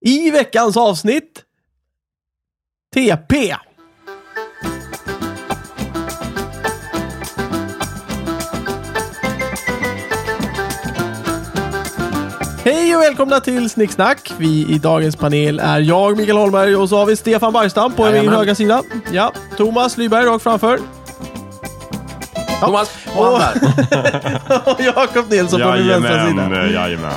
i veckans avsnitt TP. Hej och välkomna till Snicksnack. Vi i dagens panel är jag, Mikael Holmberg, och så har vi Stefan Bergstam på min Jajamän. högra sida. Ja, Thomas Lyberg rakt framför. Ja. Thomas, Och- och han där. Och Jakob Nilsson på min vänstra Jajamän, sida. eh, jajamän.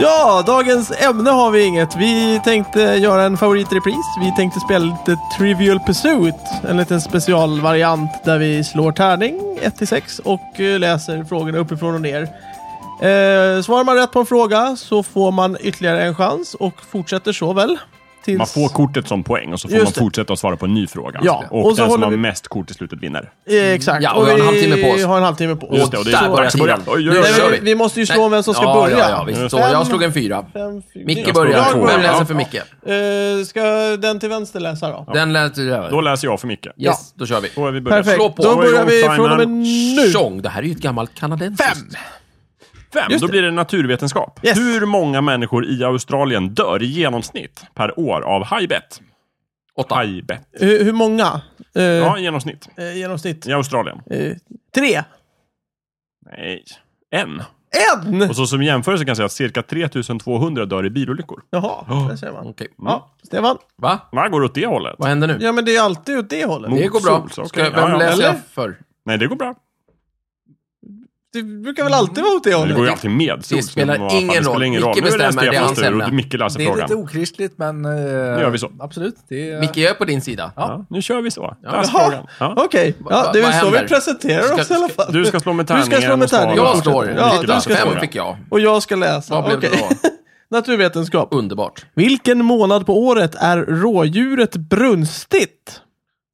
Ja, dagens ämne har vi inget. Vi tänkte göra en favoritrepris. Vi tänkte spela lite Trivial Pursuit. En liten specialvariant där vi slår tärning 1-6 och eh, läser frågorna uppifrån och ner. Eh, svarar man rätt på en fråga så får man ytterligare en chans och fortsätter så väl? Tills... Man får kortet som poäng och så får Just man det. fortsätta att svara på en ny fråga. Ja, och Och, så den som håller har vi- mest kort i slutet vinner. eh, Exakt. Ja, och vi har en halvtimme på Vi oss. har en halvtimme på oss. Just det, och det där är börjar dags att börja. tiden. Oj, Nu oj, Nej, oj. kör vi, vi måste ju slå Nej. vem som ska ja, börja. Ja, ja, visst. Så Fem- jag slog en fyra. Fem, fyra. Micke Jag slog en börjar. tvåa. Vem läser Ja. för Micke? Eh, ska den till vänster läsa då? Den lät du Då över. läser jag för mycket. Yes, då kör vi. Då är vi börjat. Perfekt. Slå på. Då börjar vi Timer. från och med nu. Tjong, det här är ju ett gammalt kanadensiskt. Fem. Fem, Just då det. blir det naturvetenskap. Yes. Hur många människor i Australien dör i genomsnitt per år av hajbett? Åtta. Hajbett. Hur, hur många? Eh, Ja, i genomsnitt. eh, genomsnitt. I Australien. Eh, tre. Nej. En. En! Och så som jämförelse kan jag säga att cirka 3200 dör i bilolyckor. Jaha, där ser man. Okej. Ja, Stefan. Va? Man går åt det hållet. Vad händer nu? Ja, men det är alltid åt det hållet. Mot Det går bra. sols, okej. Ska, Ja, ja. vem läser Eller? jag för? Nej, det går bra. Det brukar väl alltid vara åt det Men Mm. det hållet? går ju alltid med. Solsken spelar och vad fan, ingen det roll. spelar ingen Micke roll. Nu är det bestämmer, det är Stefans hans tur ämne. och Micke läser Det är lite frågan. okristligt, men... eh, gör vi så. Absolut. Det är, Micke, jag är på din sida. Ja, nu kör vi så. Läs Jaha, frågan. Ja. okej. Ja, Va- det är vad väl så händer? vi presenterar Ska- oss i alla ska- fall. Du ska slå med Du ska tärningen. slå med och svara. tärningen. Jag fortsätter. står. Ja, Micke du läser ska Fem frågan. fick jag. Och jag ska läsa. Vad blev det Okej. då? Naturvetenskap. Underbart. Vilken månad på året är rådjuret brunstigt?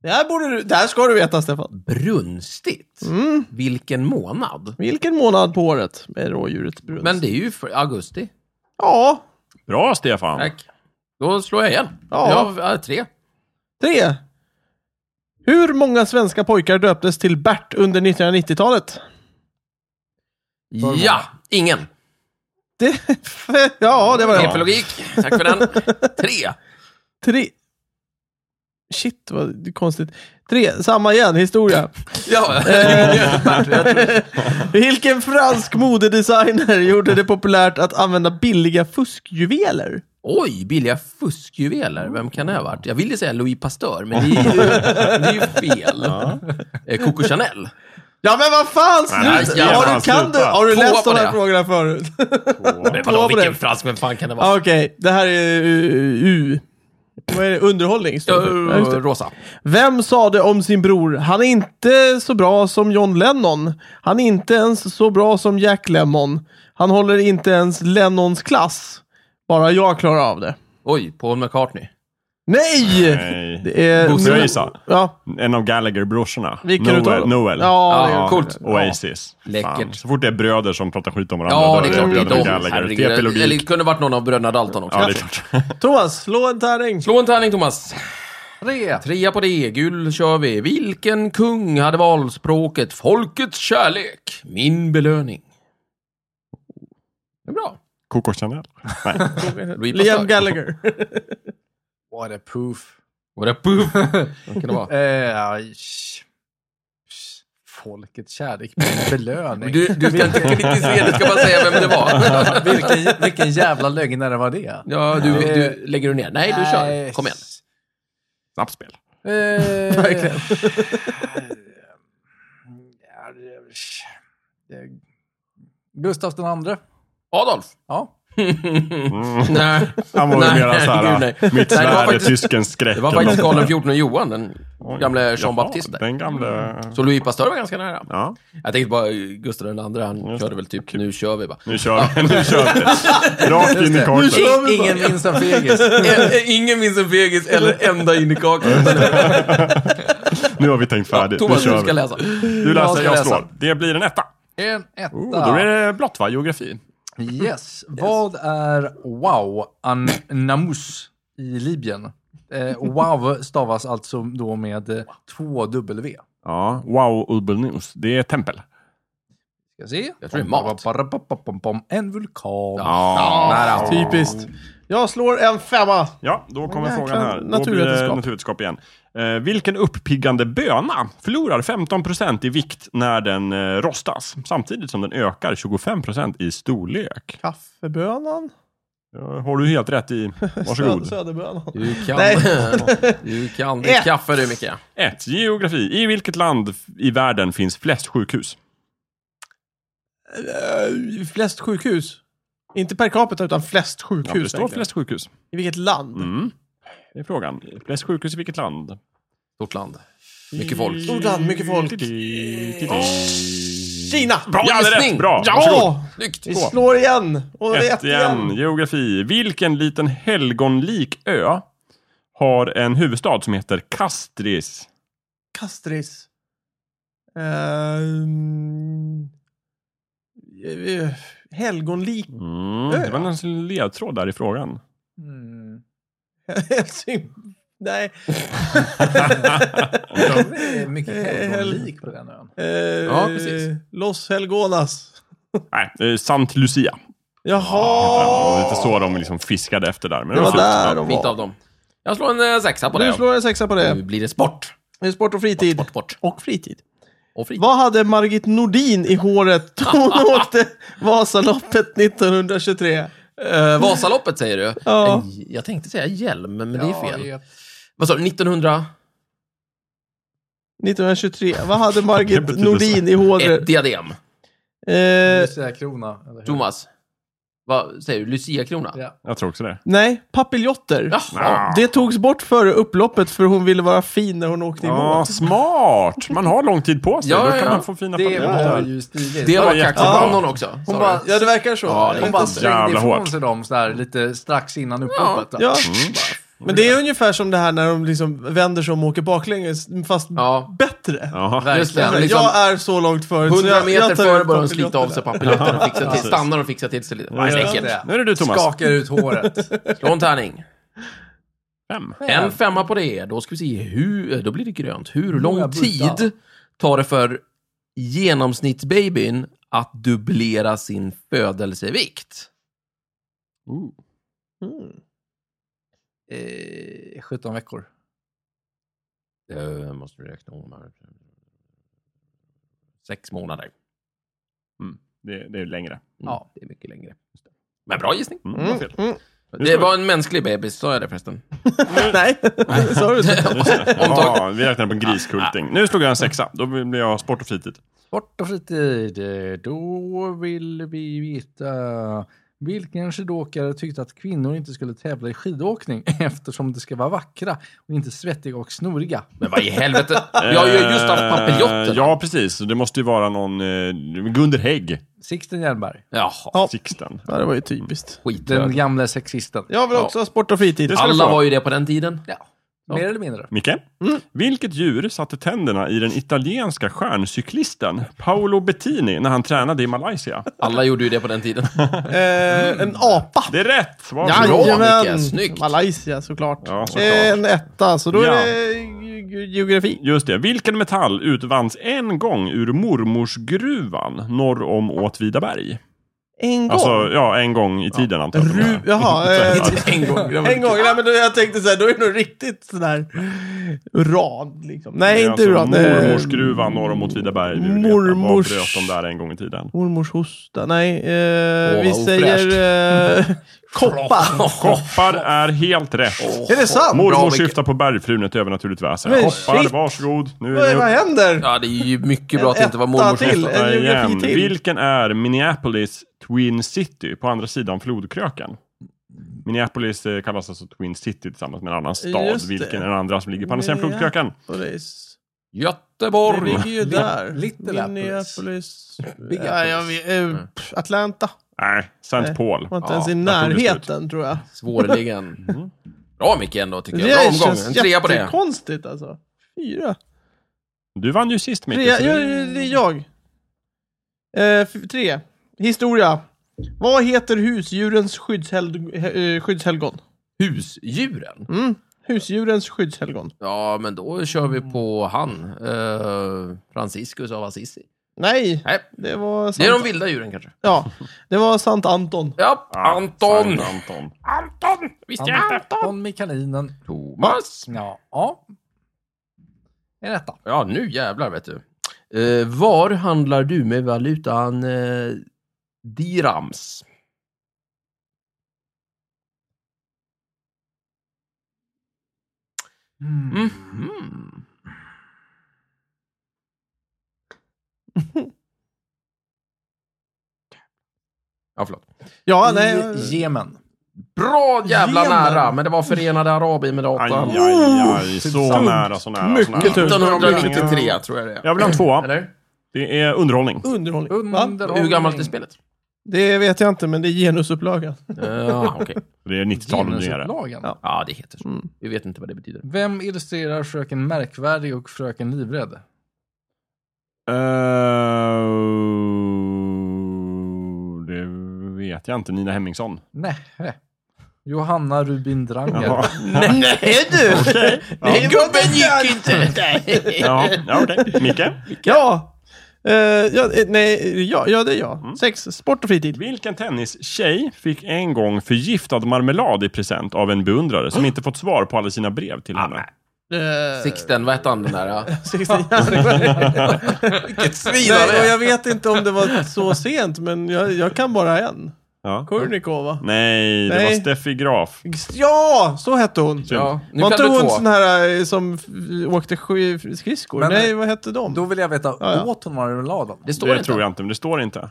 Det här, borde du, det här ska du veta, Stefan. Brunstigt? Mm. Vilken månad? Vilken månad på året är rådjuret brunstigt? Men det är ju för augusti. Ja, Bra, Stefan. Tack. Då slår jag igen. Ja. Ja. Jag har tre. Tre. Hur många svenska pojkar döptes till Bert under 1990-talet? Ja, ingen. Det, ja, det var det. Epiologik. Tack för den. Tre. Tre. Shit, vad konstigt. Tre, samma igen, historia. Ja. Eh, Vilken fransk modedesigner gjorde det populärt att använda billiga fuskjuveler? Oj, billiga fuskjuveler. Vem kan det ha varit? Jag ville säga Louis Pasteur, men det är ju, det är ju fel. Eh, Coco Chanel. Ja, men vad fan! Nej, Sluta! jävlar, Har du, kan sluta. du, har du Två läst på de här det. frågorna förut? Men Två på vadå, den. vilken fransk? Vem fan kan det vara? Okej, det här är U. U. Vad är det? Underhållning? står det uh, för. Ja, just det. Eh, Rosa. Vem sa det om sin bror? Han är inte så bra som John Lennon. Han är inte ens så bra som Jack Lemmon. Han håller inte ens Lennons klass. Bara jag klarar av det. Oj, Paul McCartney. Nej! Nej. Det är... Bosse Reisa. Ja. En av Gallagher-brorsorna. Vilken utav Noel. dem? Noel. Ja, det Ja, är- coolt. Oasis. Läckert. Fan. Så fort det är bröder som pratar skit om varandra, Ja, det är klart. Det är då är bröderna de. Gallagher. Det är Herregud. Eller det epilogik. kunde varit någon av bröderna Dalton också. Ja, det är klart. Thomas, slå en tärning. Slå en tärning, Thomas. Tre. Trea på det, gul kör vi. Vilken kung hade valspråket Folkets kärlek, min belöning? Det är bra. Coco Chanel. Nej. Louis Liam Pasteur. Gallagher. What a proof. What a poof. Vad kan det vara? Eh, aj, sh- sh- Folkets kärlek med belöning. Du, du ska inte kritisera, du ska bara säga vem det var. vilken, vilken jävla lögnare var det? Ja, du, du lägger du ner. Nej, du kör. Kom igen. Snabbt spel. Eh, Verkligen. ja, det- sh- det- Eh, Gustav den andre. Adolf. Ja. Nej. Han var väl Nej, mera såhär, herregud, nej. mitt Nej, det var svärd är faktiskt- tyskens skräck. Det var eller faktiskt något Karl sånt XIV Johan, den där. Oj. gamle Jaha, Jean Baptiste. Mm. där. Den gamle... Så Louis Pasteur var ganska nära. Ja, Jag tänkte bara, Gustav den andra, han körde väl typ, nu kör vi bara. nu kör vi. Nu kör vi. Rakt in i Nu kortet. kör vi bara. Ingen minns en fegis. Ä- ä- Ingen minns en fegis eller ända in i kakan. Nu har vi tänkt färdigt. Nu Thomas, du kör ska vi. läsa. Du Jag läser, ska jag läsa. slår. Det blir en etta. En etta. Oh, då är det blått va? Geografi? Yes. Vad är wow an namus i Libyen? Eh, wow stavas alltså då med eh, två W. Ja, wow, Ubel News. Det är tempel. Ska se. Jag tror det är mat. Parapapapapapam. En vulkan. Ja. Nära. Typiskt. Jag slår en femma. Ja, då kommer Jäklar, frågan här. Då blir naturvetenskap. det naturvetenskap igen. Eh, vilken uppiggande böna förlorar 15% i vikt när den eh, rostas, samtidigt som den ökar 25% i storlek? Kaffebönan? Ja, har du helt rätt i. Sö- Varsågod. Söderbönan. Du kan, Nej. du kan ditt Ett. kaffe du, Micke. 1. Geografi. I vilket land i världen finns flest sjukhus? Eh, Flest sjukhus. Inte per capita, utan flest Ja, sjukhus. det står tänker jag. flest sjukhus. I vilket land? Mm. Det är frågan. Flest sjukhus i vilket land? Stort land. Mycket folk. Mm. Stort land, mycket folk. Kina! Bra ja, det är rätt. gissning. Bra. Varsågod. Ja! Snyggt! Vi slår igen! Och det är Ett igen. Geografi. Vilken liten helgonlik ö har en huvudstad som heter Castris? Castris. Eh, Ehm, eh, helgonlik. Mm. Ö. Det var en ledtråd där i frågan. Mm. Helsing... Nej. Det är mycket Eh, Hel- helgonlik på den ön. Eh, Ja, precis. Los Helgonas. Nej, eh, Sant Lucia. Jaha! Ja, det var lite så de liksom fiskade efter där. Men det var var fint. där de Fint var. av dem. Jag slår en eh, sexa på det. Du slår en sexa på Nu Mm. det. blir det sport. Det är sport och fritid. Sport, sport. Och fritid. Och fritid. Vad hade Margit Nordin i håret då hon åkte Vasaloppet 1923? Eh, Vasaloppet säger du? Ja. En- Jag tänkte säga hjälm, men det är Ja, fel. det är- Vad sa du? 1900? 1923. Vad hade Det Margit betyder Nordin i håret? Ett diadem. Eh, Lucia Krona. eller hur? Thomas? Vad säger du? Lucia-krona? Ja. Jag tror också det. nej, papiljotter. Jaha. Det togs bort före upploppet för hon ville vara fin när hon åkte i Ja, mål. smart! Man har lång tid på sig. Ja, Då ja, kan ja. man få fina Det var familjer. ju stiligt. Det var jättebra. Kaxabannon också. Hon sa bara, du. ja det verkar så. Ja, det Jag var vet bara inte. så jävla slängde ifrån hårt. sig dem sådär lite strax innan upploppet. då. ja. Mm. Men det är ungefär som det här när de liksom vänder sig om och åker baklänges, fast Ja. bättre. Ja. Just det, Verkligen. liksom- jag är så långt förut. så 100 jag- jag meter tar före ut börjar de slita av sig papiljotter. papiljotten och fixa till. Precis. Stannar och fixar till sig lite. Ja, Nej, just säkert. det. Nu är det du Thomas. Skakar ut håret. Slå en tärning. Fem. En femma på det. Då ska vi se hur, då blir det grönt. Hur Många lång bultar. tid tar det för genomsnittsbabyn att dubblera sin födelsevikt? Ooh. Eh, 17 veckor. Det måste du räkna om här. Sex månader. Det, det är längre. Ja, det är mycket längre. Men bra gissning. Mm, vad Mm, fel. mm. Det var en mänsklig bebis, sa jag det förresten? Nej, sa du så? Omtaget. Ja, vi räknar på en griskulting. Nu slog jag en sexa. Då blir jag sport och fritid. Sport och fritid. Eh, Då vill vi veta vilken skidåkare tyckte att kvinnor inte skulle tävla i skidåkning eftersom de ska vara vackra och inte svettiga och snoriga. Men vad i helvete? Jag har ju just haft Eh, papiljotter. Ja, precis. Det måste ju vara någon... Eh, Gunder Hägg. Sixten Jernberg. Jaha, Ja. Sixten. Ja, det var ju typiskt. Den skit. gamla sexisten. Jag vill också ha sport och fritid. Det ska du Alla få. var ju det på den tiden. Ja. Mer eller mindre. Micke? Mm. Vilket djur satte tänderna i den italienska stjärncyklisten Paolo Bettini när han tränade i Malaysia? Alla gjorde ju det på den tiden. Eh, en apa. Mm. Det är rätt! Vad bra. Jajamän! Micke, snyggt. Malaysia såklart. Ja, såklart. En etta, så då Ja. är det ge- ge- geografi. Just det. Vilken metall utvanns en gång ur mormorsgruvan norr om Åtvidaberg? En gång. Alltså, ja, en gång i tiden antar jag. att de Ru- menar. Jaha. Eh, en gång. en gång. Nej, men då, jag tänkte så här, då är det nog riktigt sådär uran liksom. Nej, Det är inte alltså uran. eh, Mormorsgruvan norr om Åtvidaberg. vi vill veta. Vad mormors- bröt de där en gång i tiden? Mormors hosta. Nej, eh, Åh, vi vad säger eh, koppar. Koppar är helt rätt. Är det sant? Bra, Mormor Micke. syftar på bergfrun, ett övernaturligt väsen. Men Hoppar, shit. varsågod. Nu Vad, vad nu- händer? Ja, det är ju mycket bra att det inte var En mormors etta till. fel. En Där geografi igen. till. Vilken är Minneapolis Twin City på andra sidan flodkröken? Minneapolis eh, kallas alltså Twin City tillsammans med en annan stad. Just det. Vilken är den andra som ligger på andra sidan Minneapolis. flodkröken? Och det är- Det Göteborg! ligger ju där. Little Minneapolis. Big Ja, jag vet, eh, Mm. pff, Atlanta. Nej, St. Nej. Paul. Var inte Ja, ens i där tog det närheten tror jag. Svårligen. Bra Micke ändå, tycker jag. Mm. Det Bra omgång. En känns trea på det. jättekonstigt alltså. Fyra. Du vann ju sist Micke. Trea, så ja, det- det är jag. Eh, f- tre. Historia. Vad heter husdjurens skyddshel- eh, skyddshelgon? Husdjuren? Mm. Husdjurens skyddshelgon. Ja, men då kör vi på han. Eh, Franciscus av Assisi. Nej, Nej, det var det sant. är de vilda djuren kanske. Ja, det var sant Anton. Ja, Ja, Anton! sant, Anton. Anton! Visste jag inte. Anton med kaninen. Thomas! Ja. ja. Det Är detta. Ja, nu jävlar vet du. Eh, var handlar du med valutan eh, dirhams? Mm. Mhm. ja, förlåt. Ja, nej. I Jemen. Bra jävla Jemen. nära, men det var Förenade Aj, Arabemiraten. aj, aj. Så Tungt. nära, så nära. så Mycket nära. tungt. 1993 tror jag det är. Jag vill ha en tvåa. Eller? Det är underhållning. Underhållning. Va? Underhållning. Hur gammalt är spelet? Det vet jag inte, men det är genusupplagan. Ja, okej. Det är 90-tal och nyare. Genusupplagan. Ja. Ja, det heter så. Vi vet inte vad det betyder. Vem illustrerar fröken Märkvärdig och fröken Livrädd? Eh, Det vet jag inte. Nina Hemmingsson. Nej. Johanna Rubin Dranger. Jaha. Nej du! Nej, gubben gick inte! Ja, ja okej. Micke? Ja! Eh, ja, eh, nej, ja, ja, det är jag. Mm. Sex, sport och fritid. Vilken tennistjej fick en gång förgiftad marmelad i present av en beundrare som inte fått svar på alla sina brev till Ah, henne? Eh, Sixten, vad hette han den där? Sixten. Vilket svin han Nej, och är! jag vet inte om det var så sent, men jag, jag kan bara en. Ja. Kurnikova. Nej, det var Nej. Steffi Graf. Ja, så hette hon. Ja, nu var kan inte du hon två. sån här eh, som f- åkte sk- skridskor? Men- Nej, vad hette de? Då vill jag veta, Ja, ja. åt hon marmeladen? Det står Det inte. tror jag inte, men det står inte.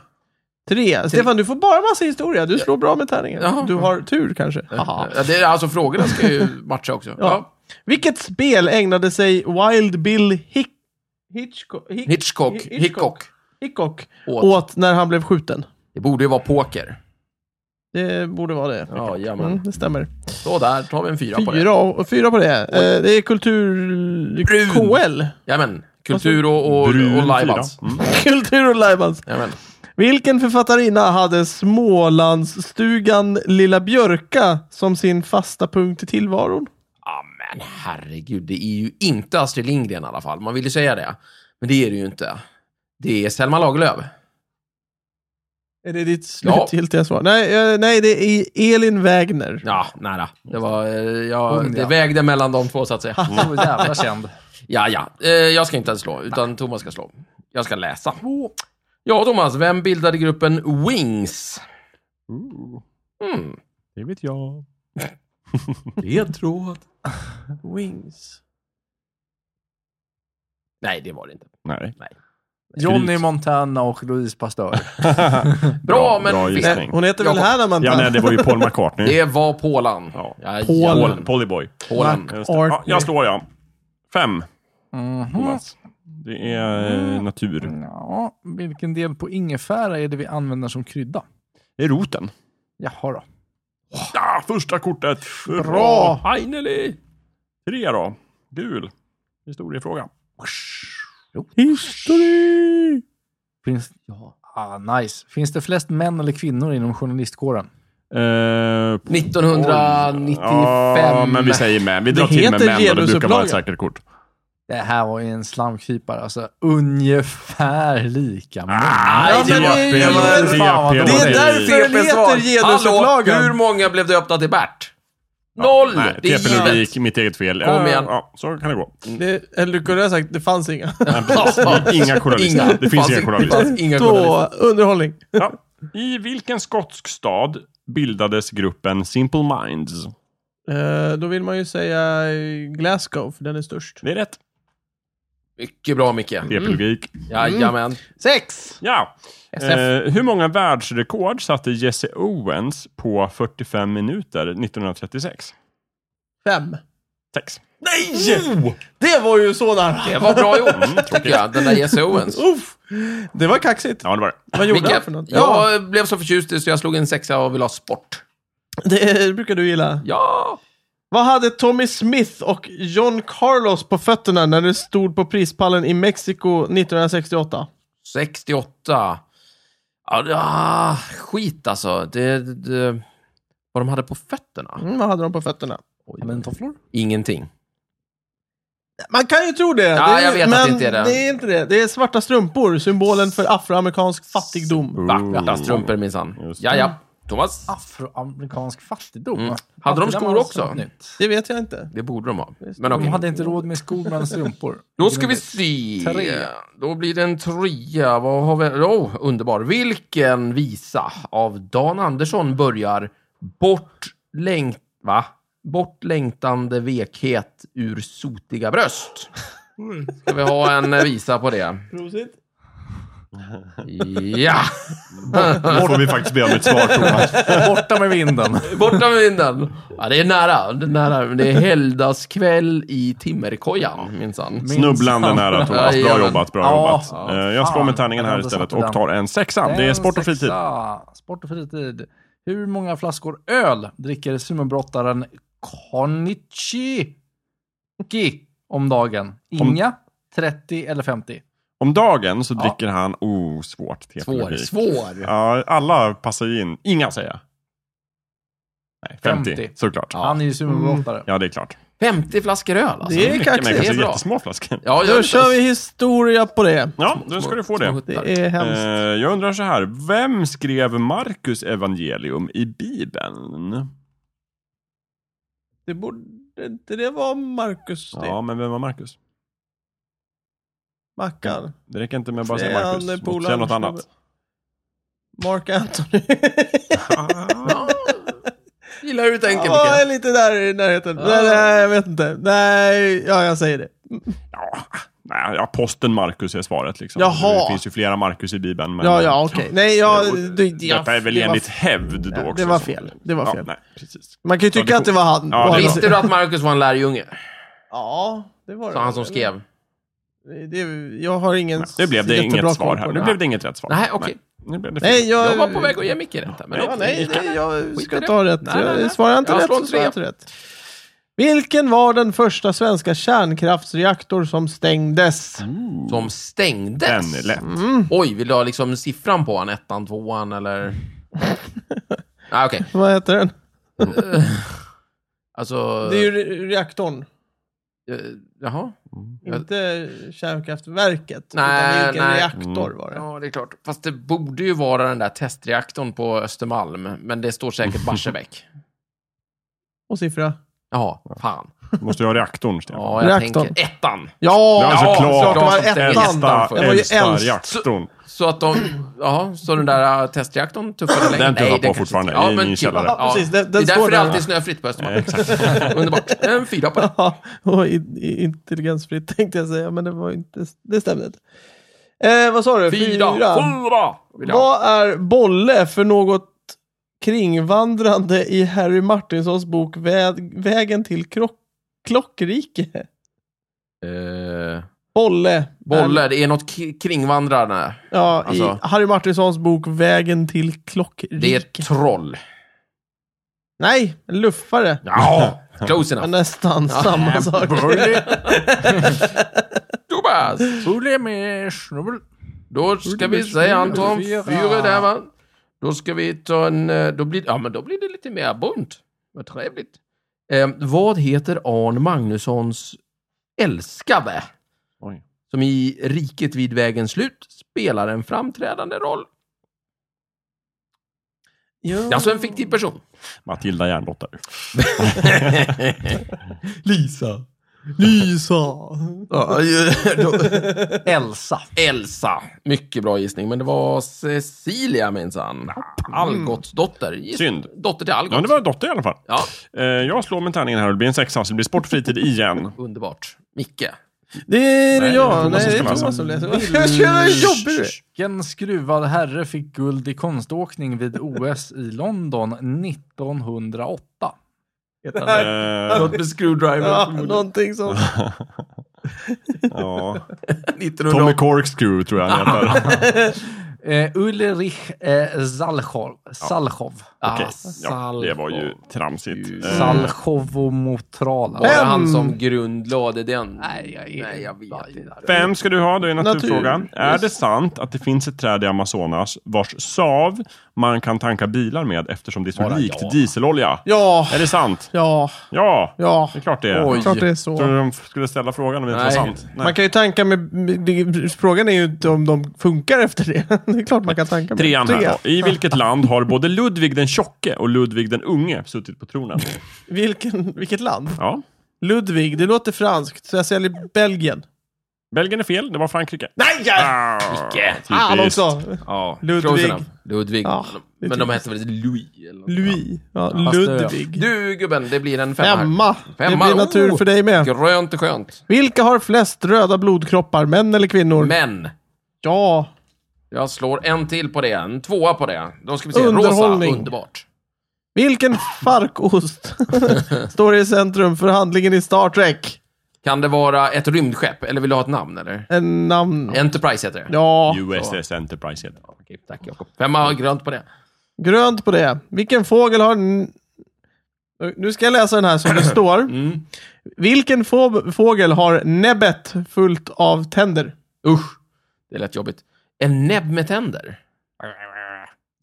Tre. Stefan, du får bara massa historia. Du slår bra med tärningar. Jaha. Du har tur kanske. Haha. Ja, det är, alltså frågorna ska ju matcha också. Ja. Vilket spel ägnade sig Wild Bill Hick... Hitchcock? Hick- Hitchcock. Hitchcock. Hitchcock. Hickok Åt. åt när han blev skjuten? Det borde ju vara poker. Det borde vara det. Ja, jajamän. Mm, det stämmer. Så där tar vi en fyra på det. Fyra, och, fyra på det. Eh, det är kultur... Brun. KL. Jajamän. Kultur och, och, och Brun fyra. livebands. Mm. Kultur och lajbans. Jajamän. Vilken författarinna hade Smålandsstugan Lilla Björka som sin fasta punkt i tillvaron? Ja, men herregud. Det är ju inte Astrid Lindgren i alla fall. Man vill ju säga det. Men det är det ju inte. Det är Selma Lagerlöf. Är det ditt Ja. slutgiltiga svar? Nej, eh, nej, det är Elin Wägner. Ja, nära. Det, var, eh, ja, Hon, det ja. vägde mellan de två, så att säga. Så jävla känd. Ja, ja. Eh, jag ska inte ens slå, utan Thomas ska slå. Jag ska läsa. Ja, Thomas. Vem bildade gruppen Wings? Ooh, Mm. Uh, Det vet jag. Ledtråd. Wings. Nej, det var det inte. Nej. Johnny Skryt. Montana och Louise Pasteur. Bra, men bra visst. Nej, gissning. hon heter väl Jag- Hannah Ja, nej, Montana? det var ju Paul McCartney. Det var Polan. Ja. Ja, Paul, Polen. Polyboy. Polan. Just det. Ja, Artney. jag slår jag. Fem, Mhm. Thomas. Det är eh, natur. Ja, vilken del på ingefära är det vi använder som krydda? Det är roten. Jaha då. Ja, första kortet! Bra. Heineli! Tre då. Gul. Historiefråga. History! Finns... Ah, nice. Finns det flest män eller kvinnor inom journalistkåren? Eh, 1995. Ja, men vi säger män. Vi drar Det till med heter män och det brukar vara genusupplaga. ett säkert kort. Det här var ju en slamkrypare. Alltså, ungefär lika många. Ah, Ja, men det är ju- TP, Fan, TP, vad Det är TP. därför det heter Hallå, hur genusupplagan. många blev döpta till Bert? Ja, Noll! nej, det är givet. TP-logik, mitt eget fel. Kom Ja, igen. Ja, så kan det gå. Det- Eller du kunde ha sagt det fanns inga. Inga journalister. Det finns fanns- inga journalister. Det fanns inga Då, journalister. underhållning. Ja. I vilken skotsk stad bildades gruppen Simple Minds? Eh, då vill man ju säga eh, Glasgow, för den är störst. Det är rätt. Mycket bra, Micke. Mm. TP-logik. Jajamän. Sex! Ja. Eh, hur många världsrekord satte Jesse Owens på 45 minuter 1936? Fem. Sex. Mm. Nej! Det var ju så nära! Det var bra gjort, Mm, tycker jag. Den där Jesse Owens. Uff. Det var kaxigt. Ja, det var det. Vad gjorde han Micke, för något? Ja, jag blev så förtjust i det, så jag slog en sexa och ville ha sport. det brukar du gilla. Ja! Vad hade Tommy Smith och John Carlos på fötterna när de stod på prispallen i Mexiko 1968? 68. Ja, det- ah, skit alltså. Det, det, vad de hade på fötterna? Mm, vad hade de på fötterna? Kanintofflor? Ingenting. Man kan ju tro det. Ja, det är, jag vet att men det inte är det. det är inte det. Det är svarta strumpor, symbolen för afroamerikansk fattigdom. Svarta strumpor minsann. Just det. Ja, ja. Thomas? Ah. Afroamerikansk fattigdom. Mm. Fattigdom de skor alltså också? nytt. Det vet jag inte. Det borde de ha. Men De okej. hade inte råd med skor men strumpor. Då ska vi se. Trea. Då blir det en trea. Vad har vi? Oh, underbar. Vilken visa av Dan Andersson börjar bort längt... Va? Bortlängtande vekhet ur sotiga bröst. Ska vi ha en visa på det? Prosit. Ja! Nu får vi faktiskt be om ett svar Thomas. Borta med vinden. Borta med vinden! Ja, det är nära. Det är, nära. Det är helgdagskväll i timmerkojan, minsann. Snubblande nära Thomas. Bra Jajamän. jobbat, bra Ja. jobbat. Ja, Eh, Jag slår fan. med tärningen Jag här hade istället satt den. och tar en sexa. Det är sport och En fritid. sexa. Sport och fritid. Hur många flaskor öl dricker sumobrottaren Konichi Ki om dagen? Inga, 30 eller 50? Om dagen så dricker han, oh svårt. Svår, tepelogik. svår. Ja, alla passar ju in. Inga säger jag. Nej, 50, 50. såklart. Ja. Han är ju sumobrottare. det är klart. 50 flaskor öl alltså. Det är Men kaxigt. det är kanske bra. jättesmå flaskor. Ja, Då jag- kör vi historia på det. Ja, då ska du få det. Det är hemskt. Eh, jag undrar så här, vem skrev Markus evangelium i Bibeln? Det borde inte det vara Marcus det? Ja, men vem var Markus? Mackan? Det räcker inte med att bara Det säga är Markus. han, Säg polaren, något annat. Mark Anthony? Ah, Ja. Gillar hur du tänker, Ja, jag är Micke. lite där i närheten. Ja. Nej, nej, jag vet inte. Nej, ja, jag säger det. ja, nej, aposteln Markus är svaret liksom. Jaha. Det finns ju flera Markus i Bibeln. Men Ja, ja, okej. Nej, jag... Du, jag Detta är väl det var- enligt hävd då Ja, också. det var så. fel. Det var Ja, fel. nej, precis. Man kan ju tycka Ja, det- att det var han. Ja, det- Visste du att Marcus var en lärjunge? Ja, det var det. Sa han som skrev. Det, jag har ingen Nej, nu blev det jättebra inget koll svar på här. det. Nu blev det inget rätt svar. Nej, okej. Nej, nu blev det fel. Nej, jag... Jag var på väg att ge Micke rätt. här, Men Ja, okej. nej, nej, jag Skit i ska det. ta rätt. Nej, nej, nej. Jag Svarar jag inte Jag rätt slår en så svarar jag inte trea. rätt. Vilken var den första svenska kärnkraftsreaktor som stängdes? Mm. Som Den stängdes. är lätt. Mm. Oj, vill du ha liksom siffran på han? Ettan, tvåan eller? ah, okej. Vad heter den? Alltså... Det är ju re- reaktorn, eh, Jaha. Jag- inte kärnkraftverket. Nej, utan vilken nej. Mm. reaktor var det? Ja, det är klart. Fast det borde ju vara den där testreaktorn på Östermalm. Men det står säkert Barsebäck. Och siffra? Jaha, fan. Måste ju ha reaktorn, Stefan. Ja, jag Reaktorn. tänker ettan. Ja! Det är alltså Ja, klart, klart det var den ettan. äldsta, Den alltså. var ju äldsta äldst. reaktorn. Så att de, jaha, så den där äh, testreaktorn tuffade länge? Den tuffar på kanske fortfarande inte- i min kul. källare. Ja, precis, den- den det är står där, därför det alltid är va? snöfritt på Östermalm. Underbart. En fyra på det. Ja, och i- i- intelligensfritt tänkte jag säga, men det var inte... Det stämde inte. Eh, vad sa du? Fyra! Fyra! Vill jag. ha. Vad är bolle för något kringvandrande i Harry Martinsons bok Vä- Vägen till krock- klockrike? Eh, Bolle. Bolle, det är något k- kringvandrande. Ja, Alltså. i Harry Martinsons bok Vägen till klockrike. Det är ett troll. Nej, en luffare. Ja, close Ja, enough. Nästan samma sak. Thomas! Problem med snubbel. Då ska vi säga Anton, Fyra. fyra där va. Då ska vi ta en, eh, då blir, ja men då blir det lite mer bunt. Vad trevligt. Eh, vad heter Arn Magnussons älskade? Oj. Som i Riket vid vägens slut spelar en framträdande roll. Det är Alltså en fiktiv person. Matilda Järndotter. Lisa. Lisa. Mm. Elsa. Elsa. Mycket bra gissning, men det var Cecilia minsann. Algotsdotter. Giss- Synd. Dotter till Algot. Ja, det var en dotter i alla fall. Ja, Eh, jag slår med tärningen här och det blir en sexa, så det blir sport och fritid igen. underbart. Micke. Det är Nej, jag. Thomas Nej, det är ska läsa. Thomas som läser. Vad jobbig du är. Vilken skruvad herre fick guld i konståkning vid OS i London 1908? Heter han det? Eh, med screwdriver. Ja, någonting som... ja. Tommy 1908. Corkscrew tror jag han heter. Eh, Ulrich eh, Salchov. Salchov. Okej, Ah, ja, det var ju tramsigt. Mm. Eh, Salchov och Motrala. Var det Fem. han som grundlade den? Nej, jag är- Nej, jag vet inte. Fem ska du ha, det är naturfrågan. Natur, Är det sant att det finns ett träd i Amazonas vars sav man kan tanka bilar med eftersom det är så Bara likt ja. dieselolja? Ja, Är det sant? ja, Ja, ja. det är klart det är. Oj. Klart det är Tror så. du de skulle ställa frågan om det inte var Nej. sant? Man kan ju tanka med... med- det- Frågan är ju inte om de funkar efter det. Det är klart man kan tanka med. Trean här Tre. då. I vilket land har både Ludvig den tjocke och Ludvig den unge suttit på tronen? Vilken, vilket land? Ja. Ludvig, det låter franskt. Så jag säger Belgien. Belgien är fel, det var Frankrike. Nej! Ah, alltså. Icke. Fan typiskt. också! Ja, Ludvig. close enough. Ludvig. Ja, det Men de tycker hette väl Louis? Eller något. Louis. Ja, fast det- Ludvig. Du gubben, det blir en femma. här. Femma. Det Femma, blir natur oh. för dig med. Grönt och skönt. Vilka har flest röda blodkroppar, män eller kvinnor? Men, Ja. jag slår en till på det. En tvåa på det. Då ska vi se. Rosa, Underhållning. underbart. Vilken farkost står i centrum för handlingen i Star Trek? Kan det vara ett rymdskepp? Eller vill du ha ett namn eller? En namn... Enterprise heter det. Ja, USS Enterprise heter det. Okej, tack Jakob. Femma, grönt på det. grönt på det. Vilken fågel har... n- Nu ska jag läsa den här som det står. Vilken få- fågel har näbbet fullt av tänder? Usch, det lät jobbigt. En näbb med tänder.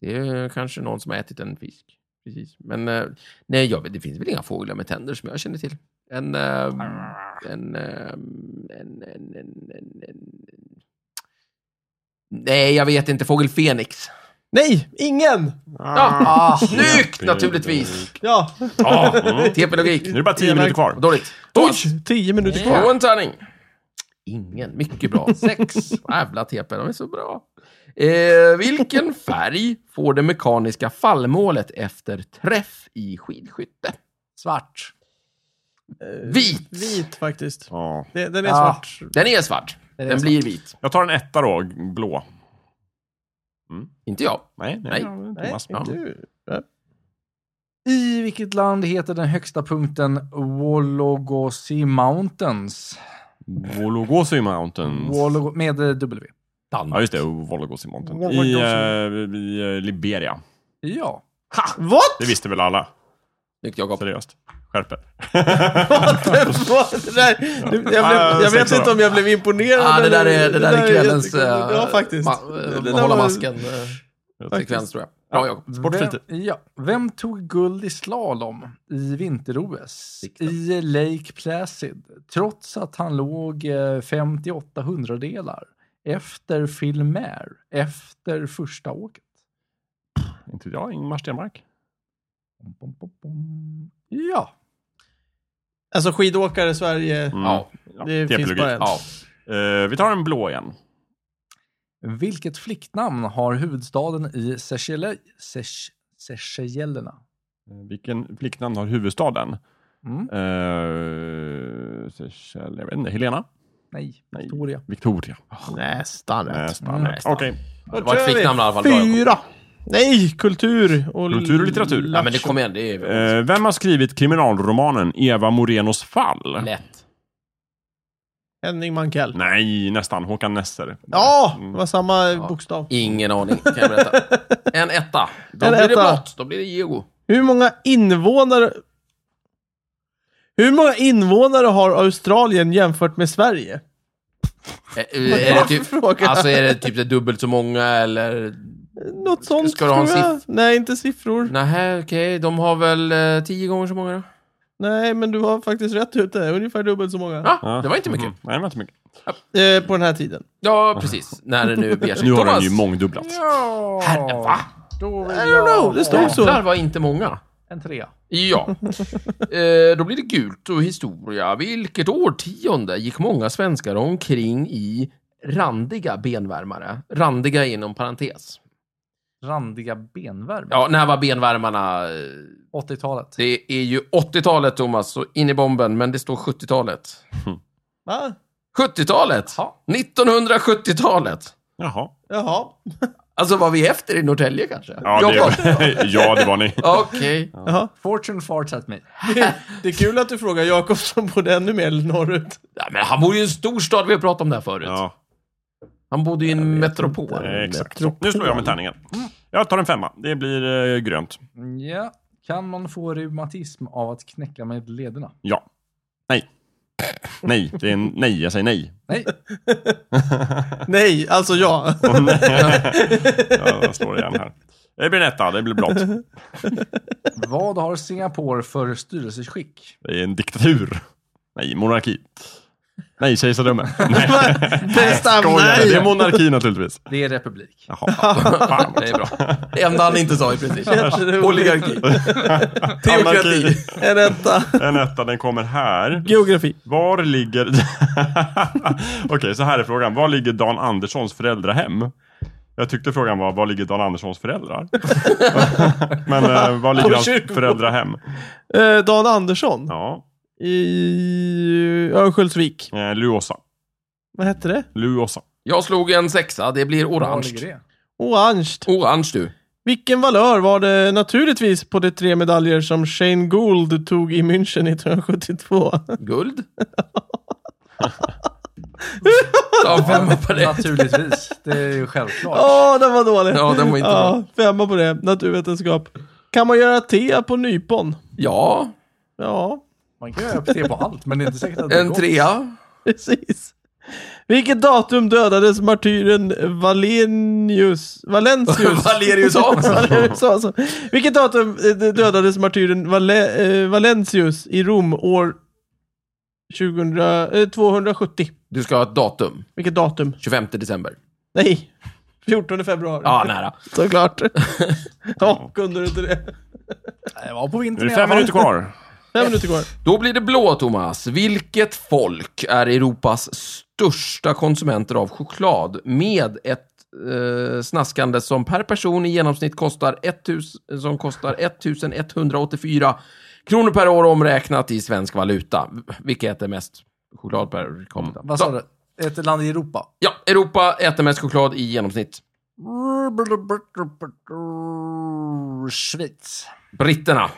Det är kanske någon som har ätit en fisk. Precis. Men eh, nej, jag vet, det finns väl inga fåglar med tänder som jag känner till. En... eh, En... eh, En... En... En... en, en, en. Nej, jag vet inte. Fågel Fenix. Nej, ingen! Ja, ah, snyggt naturligtvis! Ja, Ja, mm. TP-logik. Nu är det bara tio minuter kvar. Dåligt. Tvåan. oj! Tio minuter kvar. Två en tärning. Ingen. Mycket bra. Sex. Jävla TP, de är så bra. Eh, vilken färg får det mekaniska fallmålet efter träff i skidskytte? Svart. Vit. Eh, Vit faktiskt. Ja. Det, den är Ja. svart. Den är svart. Den, är svart. blir vit. Jag tar en etta då, blå. Inte jag. Nej, nej. Nej. ja, Nej, Thomas. inte du. I vilket land heter den högsta punkten Wologosi Mountains? Vologosi Mountains. Wolog- med eh, W. Ja, Danmark. just det. Vologosi Mountains. I, Vologosi. eh, i eh, Liberia. Ja. What? Det visste väl alla? Snyggt, Jakob. Seriöst. Skärp er. What the fuck? Det där, jag blev, Ja, jag vet sexa inte då. om jag blev imponerad. Ah, det, där är, det eller- där är kvällens... eh, jättekul. Ja, faktiskt. Det där hålla var- masken-sekvens, tror jag. Bra, Jakob. Sportfritt. Vem, ja. Vem tog guld i slalom i vinter-OS Viktigt. i Lake Placid trots att han låg eh, 58 hundradelar efter Phil Mair efter första åket? Inte jag, Ingmar Stenmark. Bom, bom, bom, bom. Ja, Alltså skidåkare i Sverige. Mm. Ja. Ja, Det finns TP-logik. bara en. Ja. Eh, vi tar en blå igen. vilket flicknamn har huvudstaden i Seychelle- Seyche- Seychellerna? Eh, Vilken flicknamn har huvudstaden? Mm. Eh, Seychelles, jag vet inte. Helena? Nej, Nej. Victoria. Victoria. Nästan rätt. Nästan. Mm. Nästan. Okej. Då Det var ett kör vi. flicknamn i alla fall. Bra, Jakob. Fyra. Nej, kultur och... Kultur och litteratur. Ja, men det kom igen. Det är Eh, vem har skrivit kriminalromanen Eva Morenos fall? lätt. Henning Mankell. Nej, Mm. nästan. Håkan Nesser. Ja, det var samma bokstav. Ingen aning, kan jag berätta. En etta. Då En blir det etta. blått. Då blir det Geo. Hur många invånare... Hur många invånare har Australien jämfört med Sverige? Eh, eh, Är det typ, Fråga. alltså är det typ det dubbelt så många eller? Något sånt ska du ha en tror jag. Nej, inte siffror. Nähä, okej. De har väl eh, tio gånger så många då? Nej, men du var faktiskt rätt ute. Ungefär dubbelt så många. Ja, Ja. det var inte mycket. Mm. Nej, det var inte mycket. Eh, på den här tiden. Ja, precis. När det nu beger sig. Nu har den Thomas! ju mångdubblats. Ja! Herre, va? Då vill I don't know, jag det ha stod så. Jävlar var inte många. En trea. Ja. Eh, då blir det gult och historia. Vilket årtionde gick många svenskar omkring i randiga benvärmare? Randiga inom parentes. Randiga benvärme. Ja, när var benvärmarna? eh, 80-talet. Det är ju 80-talet, Thomas, så in i bomben, men det står 70-talet. Va? 70-talet! Ja. 1970-talet! Jaha. Jaha. Alltså, var vi efter i Norrtälje kanske? Ja, det, ja, det var ni. Okej. Jaha. Fortune farts at me. Det är kul att du frågar Jakob som bodde ännu mer norrut. Ja, men han bor ju i en stor stad, vi har pratat om det här förut. Ja. Han bodde i en metropol. Eh, Exakt. Mm. Så, Nu slår jag med tärningen. Jag tar en femma. Det blir eh, grönt. Ja. Kan man få reumatism av att knäcka med lederna? Ja. Nej. Nej, det är en, nej, jag säger nej. Nej. Nej, alltså ja. Och nej. Ja, jag slår igen här. Det blir en etta, det blir blått. Vad har Singapore för styrelseskick? Det är en diktatur. Nej, monarki. Nej, kejsardöme. Nej, Bästa skojar. Det är nej. monarki naturligtvis. Det är republik. Jaha, fan. Det är bra. Det enda han inte sa i princip. Jätteroligt. Oligarki. Anarki. Teokrati. En etta. En etta, den kommer här. Geografi. Var ligger... Okej, så här är frågan. Var ligger Dan Anderssons föräldrahem? Jag tyckte frågan var, var ligger Dan Anderssons föräldrar? Men eh, var ligger På hans kyrkogården. föräldrahem? Eh, Dan Andersson Ja, i Örnsköldsvik. eh, Luosa. Vad hette det? Luosa. Jag slog en sexa, det blir Var orange. ligger det? Orange. Orange du. Vilken valör var det naturligtvis på de tre medaljer som Shane Gould tog i München 1972? Guld. Ta femma på det. Naturligtvis. Det är ju självklart. Åh, den var dålig! Ja, den var inte bra. Ja, femma på det. Naturvetenskap. Kan man göra te på nypon? Ja, Ja, Man kan ju öppna det på allt, men det är inte säkert att det en går. trea. precis. Vilket datum dödades martyren Valenius? Valentius? Valerius Hansson. Valerius Hansson. Vilket datum eh, dödades martyren Vale, eh, Valentius i Rom år 2000, eh, 270? Du ska ha ett datum. Vilket datum? 25 december. Nej, 14 februari. Ja, nära. Såklart. ja, kunde du inte det? Det var på Nu är vintern det fem minuter kvar. Fem minuter kvar. Då blir det blå, Thomas. Vilket folk är Europas största konsumenter av choklad med ett eh, snaskande som per person i genomsnitt kostar, 1000, som kostar 1184 kronor per år omräknat i svensk valuta. Vilket äter mest choklad per capita? Vad sa du? Ett land i Europa? Ja, Europa äter mest choklad i genomsnitt. Schweiz. Britterna.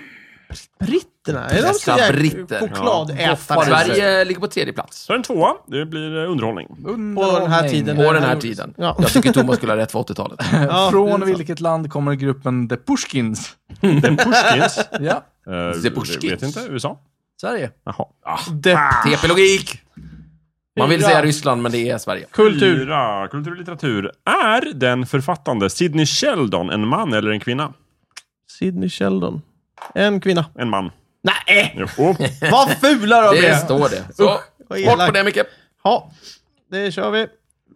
Britterna? Är de så Dessa jäkla britter. chokladätare? Ja. Sverige ligger på tredje plats. Så en tvåa, det blir eh, underhållning. På den här tiden. På den här tiden. Ja. Jag tycker Thomas skulle ha rätt för 80-talet. Ja, det är Från sant. vilket land kommer gruppen The Pushkins? Den Pushkins. eh, Ja, det Ah. vet Pushkins. inte, USA? Sverige. Jaha. Depp. TP-logik! Man vill Fyra. säga Ryssland, men det är Sverige. Kultur. Fyra, kultur och litteratur. Är den författande Sidney Sheldon en man eller en kvinna? Sidney Sheldon. En kvinna. En man. Nej, Jo. vad fula de Det blev! står det. Så, vad bort på elakt. det Micke. Ja, det kör vi.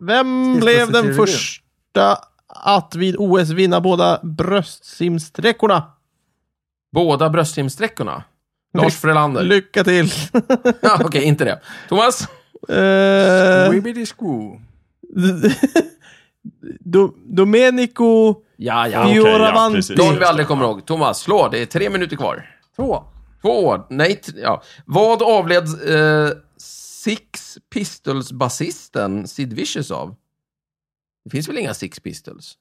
Vem Sista blev den teorin. första att vid OS vinna båda bröstsimsträckorna? Båda bröstsimsträckorna. Lars Frölander. Lycka till! Ja, Okej, inte det. Thomas? Eh, Wibbidi Squoo. Do- Domenico... Ja, ja. Okej, ja, Fioravanti. precis. Någon vi aldrig kommer ihåg. Thomas, slå. Det är tre minuter kvar. Två. Två. Nej, t- ja. Vad avled eh, Six Pistols-basisten Sid Vicious av? Det finns väl inga Six Pistols?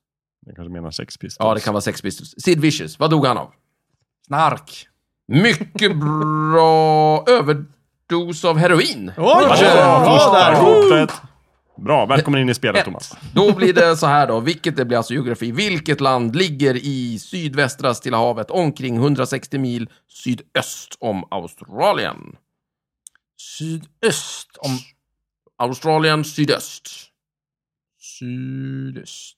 Jag kanske menar Sex Pistols. Ja, det kan vara Sex Pistols. Sid Vicious, vad dog han av? Snark. Mycket bra överdos av heroin. Oj! Varsågod. Bra Första där. ropet. Bra, välkommen in i spelet Ett. Thomas. Då blir det så här då, vilket det blir alltså geografi. Vilket land ligger i sydvästra Stilla havet omkring 160 mil sydöst om Australien? Sydöst om... Australien sydöst. Sydöst.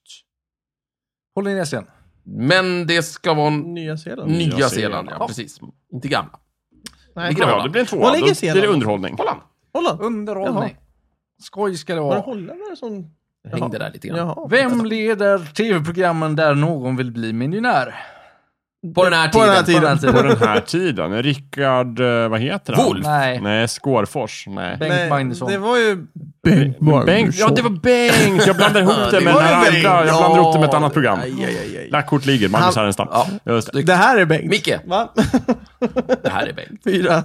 Polynesien. Men det ska vara n- Nya Zeeland. Nya, Zeeland, Zeeland, ja. ja. Precis. Inte gamla. Nej, Vilken Ja, det blir en Var tvåa. ligger Då blir Zeeland? det underhållning. Holland. Holland? Underhållning. Skoj ska det Var det vara. holländare som... Hängde där lite grann. Jaha. Vem leder tv-programmen där någon vill bli miljonär? På den här På den här tiden. tiden. den här På tiden. den här tiden. Rickard, eh, vad heter han? Wolff. Nej. Nej, Skårfors. Nej. Bengt Nej, Magnusson. Det var ju... Bengt Bengt. Ja, det var Bengt! Jag blandar ihop det Det med var den här Bengt. andra. Jag blandar ihop det med ett Ja, annat program. Aj, aj, aj, aj. Lagt kort ligger, Magnus Han- Härenstam. Ja. Just det. Det här är Bengt. Micke, Va? det här är Bengt. Fyra.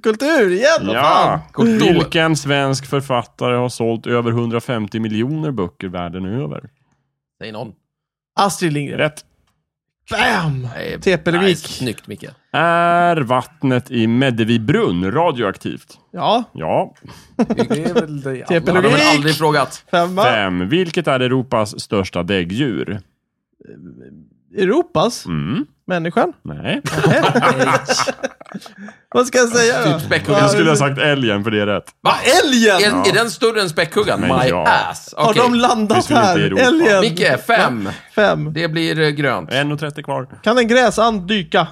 Kultur igen, vad fan. Ja. Vilken svensk författare har sålt över 150 miljoner böcker världen över? Säg någon. Astrid Lindgren. Rätt. Bam! Nej, TP-logik. nej, Snyggt, Micke. Är vattnet i Meddevi brunn radioaktivt? Ja, Ja. Det är väl det Det har TP-logik. alla. de väl aldrig frågat. femma. Fem. Vilket är Europas största däggdjur? Europas? Mm. Människan? Nej. Vad ska jag säga då? Typ späckhuggaren. Jag skulle ha sagt älgen för det är rätt. Va? Älgen! Är, är den större än späckhuggan? Men My ja. ass. Har Okej. de landat Det är här? väl inte Europa. Älgen? Micke, fem. Fem. Det blir eh, grönt. 1.30 kvar. Kan en gräsand dyka?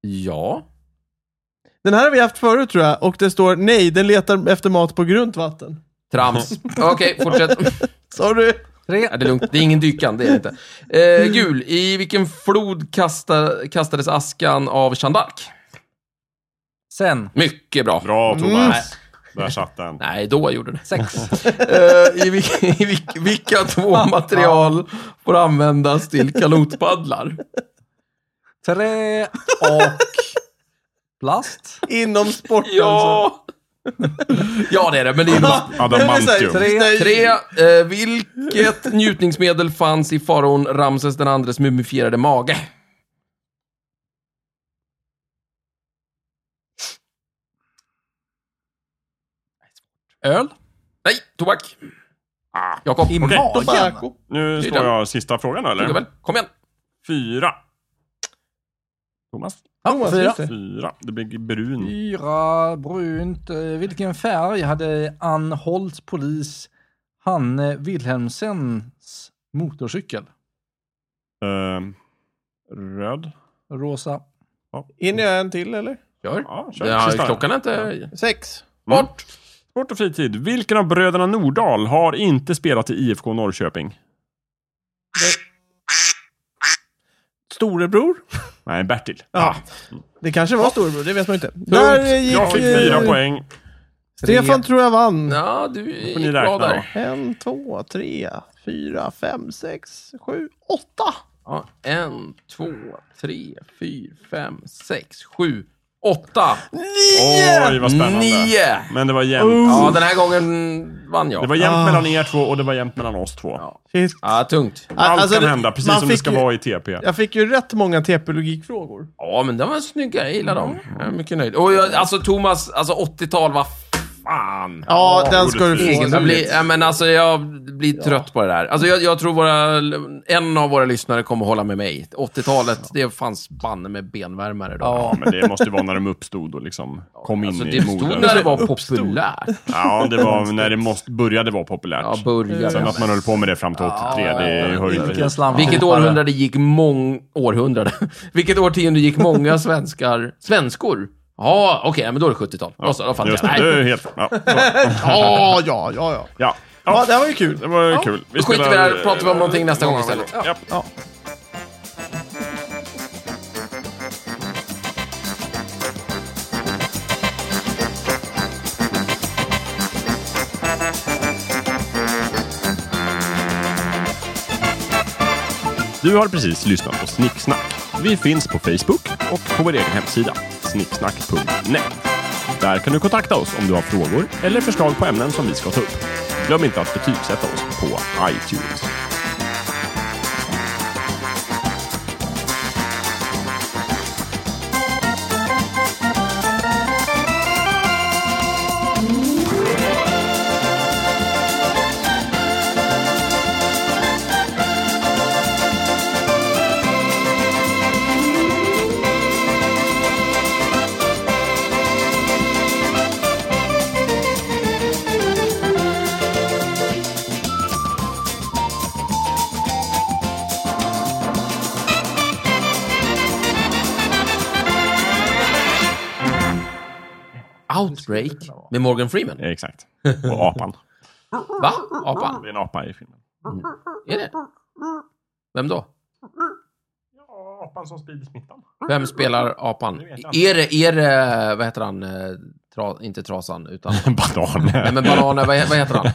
Ja. Den här har vi haft förut tror jag och det står nej, den letar efter mat på grunt vatten. Trams. Okej, fortsätt. Sa du? Tre. Nej, det är lugnt. Det är ingen dykan, det är det inte. Eh, gul. I vilken flod kasta, kastades askan av Chandark? Sen. Mycket bra. Bra Thomas. Där satt den. Mm. Nej, då gjorde det. Sex. Eh, I vilka, i vilk- vilka två material får användas till kanotpaddlar? Trä och plast. Inom sporten. Ja! Ja, det är det, men det är ju bara... Adamantium. Tre. Tre. Eh, vilket njutningsmedel fanns i faraon Ramses den andres mumifierade mage? Öl. Nej, tobak. Ah. Jakob. Okej. I magen. Tobacco. Nu Det är står den. jag sista frågan då, Jakob, eller? Kom igen. Fyra. Thomas? Ja, Thomas, fyra. just det. Fyra. Det blir brun. Fyra, brunt. Eh, Vilken färg hade Ann Holts polis Hanne Wilhelmsens motorcykel? Ehm, röd. Rosa. In jag en till eller? Kör. Ja, kör. Ja, Sista. klockan är inte... Sex. Bort. Sport och fritid. Vilken av bröderna Nordahl har inte spelat i IFK Norrköping? Storebror? Nej, Bertil. Ja. Det kanske var storebror, det vet man inte. Jag fick eh, fyra poäng. Stefan tror jag vann. Ja, du gick ni bra räkna då. där. En, två, tre, fyra, fem, sex, sju, åtta. Ja, en, två, tre, fyra, fem, sex, sju, åtta, Oj, vad spännande. nio! Men det var jämnt. Ja, den här gången vann jag. Det var jämnt Ah. mellan er två och det var jämnt mellan oss två. Shit. Ja, tungt. Allt Alltså, kan det- hända, precis man som det fick ska ju- vara i TP. Jag fick ju rätt många TP-logikfrågor. Ja, men den var snygga. Jag gillar dem. Jag är mycket nöjd. Och jag, alltså Thomas, alltså 80-tal, vad fan. Ja, den gjorde ska du du få. fint. Jag blir, ja, men alltså, jag blir trött på det där. Alltså, jag, jag tror våra, en av våra lyssnare kommer hålla med mig. 80-talet, det fanns banne med benvärmare då. Ja, Men det måste vara när de uppstod och liksom kom in alltså, i det stod moden. när det var populärt. Ja, det var när det måste, började vara populärt. Ja, började. Sen att man höll på med det fram till 83, det hör ju Vilken inte slam. Vilket århundrade gick mång... Århundrade? Vilket årtionde gick många svenskar... Svenskor? Ja, okej, men då är det 70-tal. Ja, då fattar Just jag. det, Nej. det är helt... Ja, Ja, ja, ja, ja. ja. Ja, ja det här var ju kul. det var ju kul. Då skiter vi i det här, pratar vi om någonting nästa gång istället. Ja. Ja. Du har precis lyssnat på Snicksnack. Vi finns på Facebook och på vår egen hemsida, snicksnack.net. Där kan du kontakta oss om du har frågor eller förslag på ämnen som vi ska ta upp. Glöm inte att betygsätta oss på iTunes. Outbreak med Morgan Freeman. Exakt. Och apan. Va? Apan? Det är en apa i filmen. Är det? Vem då? Ja, apan som sprider smittan. Vem spelar apan? Det vet jag Är det, är det, vad heter han, eh, tra, inte Trasan, utan, Banan. nej men Bananer, vad, he- vad heter han?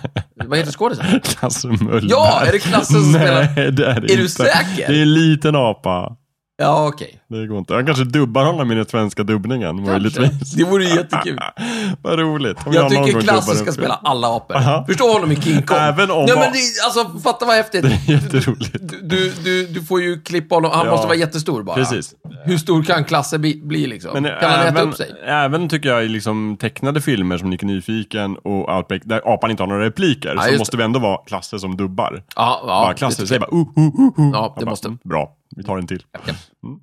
Vad heter skådisen? Klasse Möllberg. Ja, är det Klasse som spelar? Nej, det är det Är du inte. säker? Det är en liten apa. Ja, okej. Det går inte. Jag kanske dubbar honom i den svenska dubbningen möjligtvis. Det vore ju jättekul. Vad roligt. Om Jag någon tycker gång Klasse dubbar ska upp. spela alla apor. Förstå honom i King Kong. Även om- Nej, men det, alltså, fatta vad häftigt. Jätteroligt. Du- Du, du, du får ju klippa honom. Han Ja. måste vara jättestor bara. Precis. Hur stor kan Klasse bli, bli liksom? Men kan han äta även, upp sig? även tycker jag i liksom tecknade filmer som Nick Nyfiken och Outbreak, där apan inte har några repliker, Ja, så just måste vi ändå vara Klasse som dubbar. Ja, ja. bara Klasse säger bara uh, uh, uh. Ja, Han det bara, måste- "Mm, Bra, vi tar en till. Ja. Mm.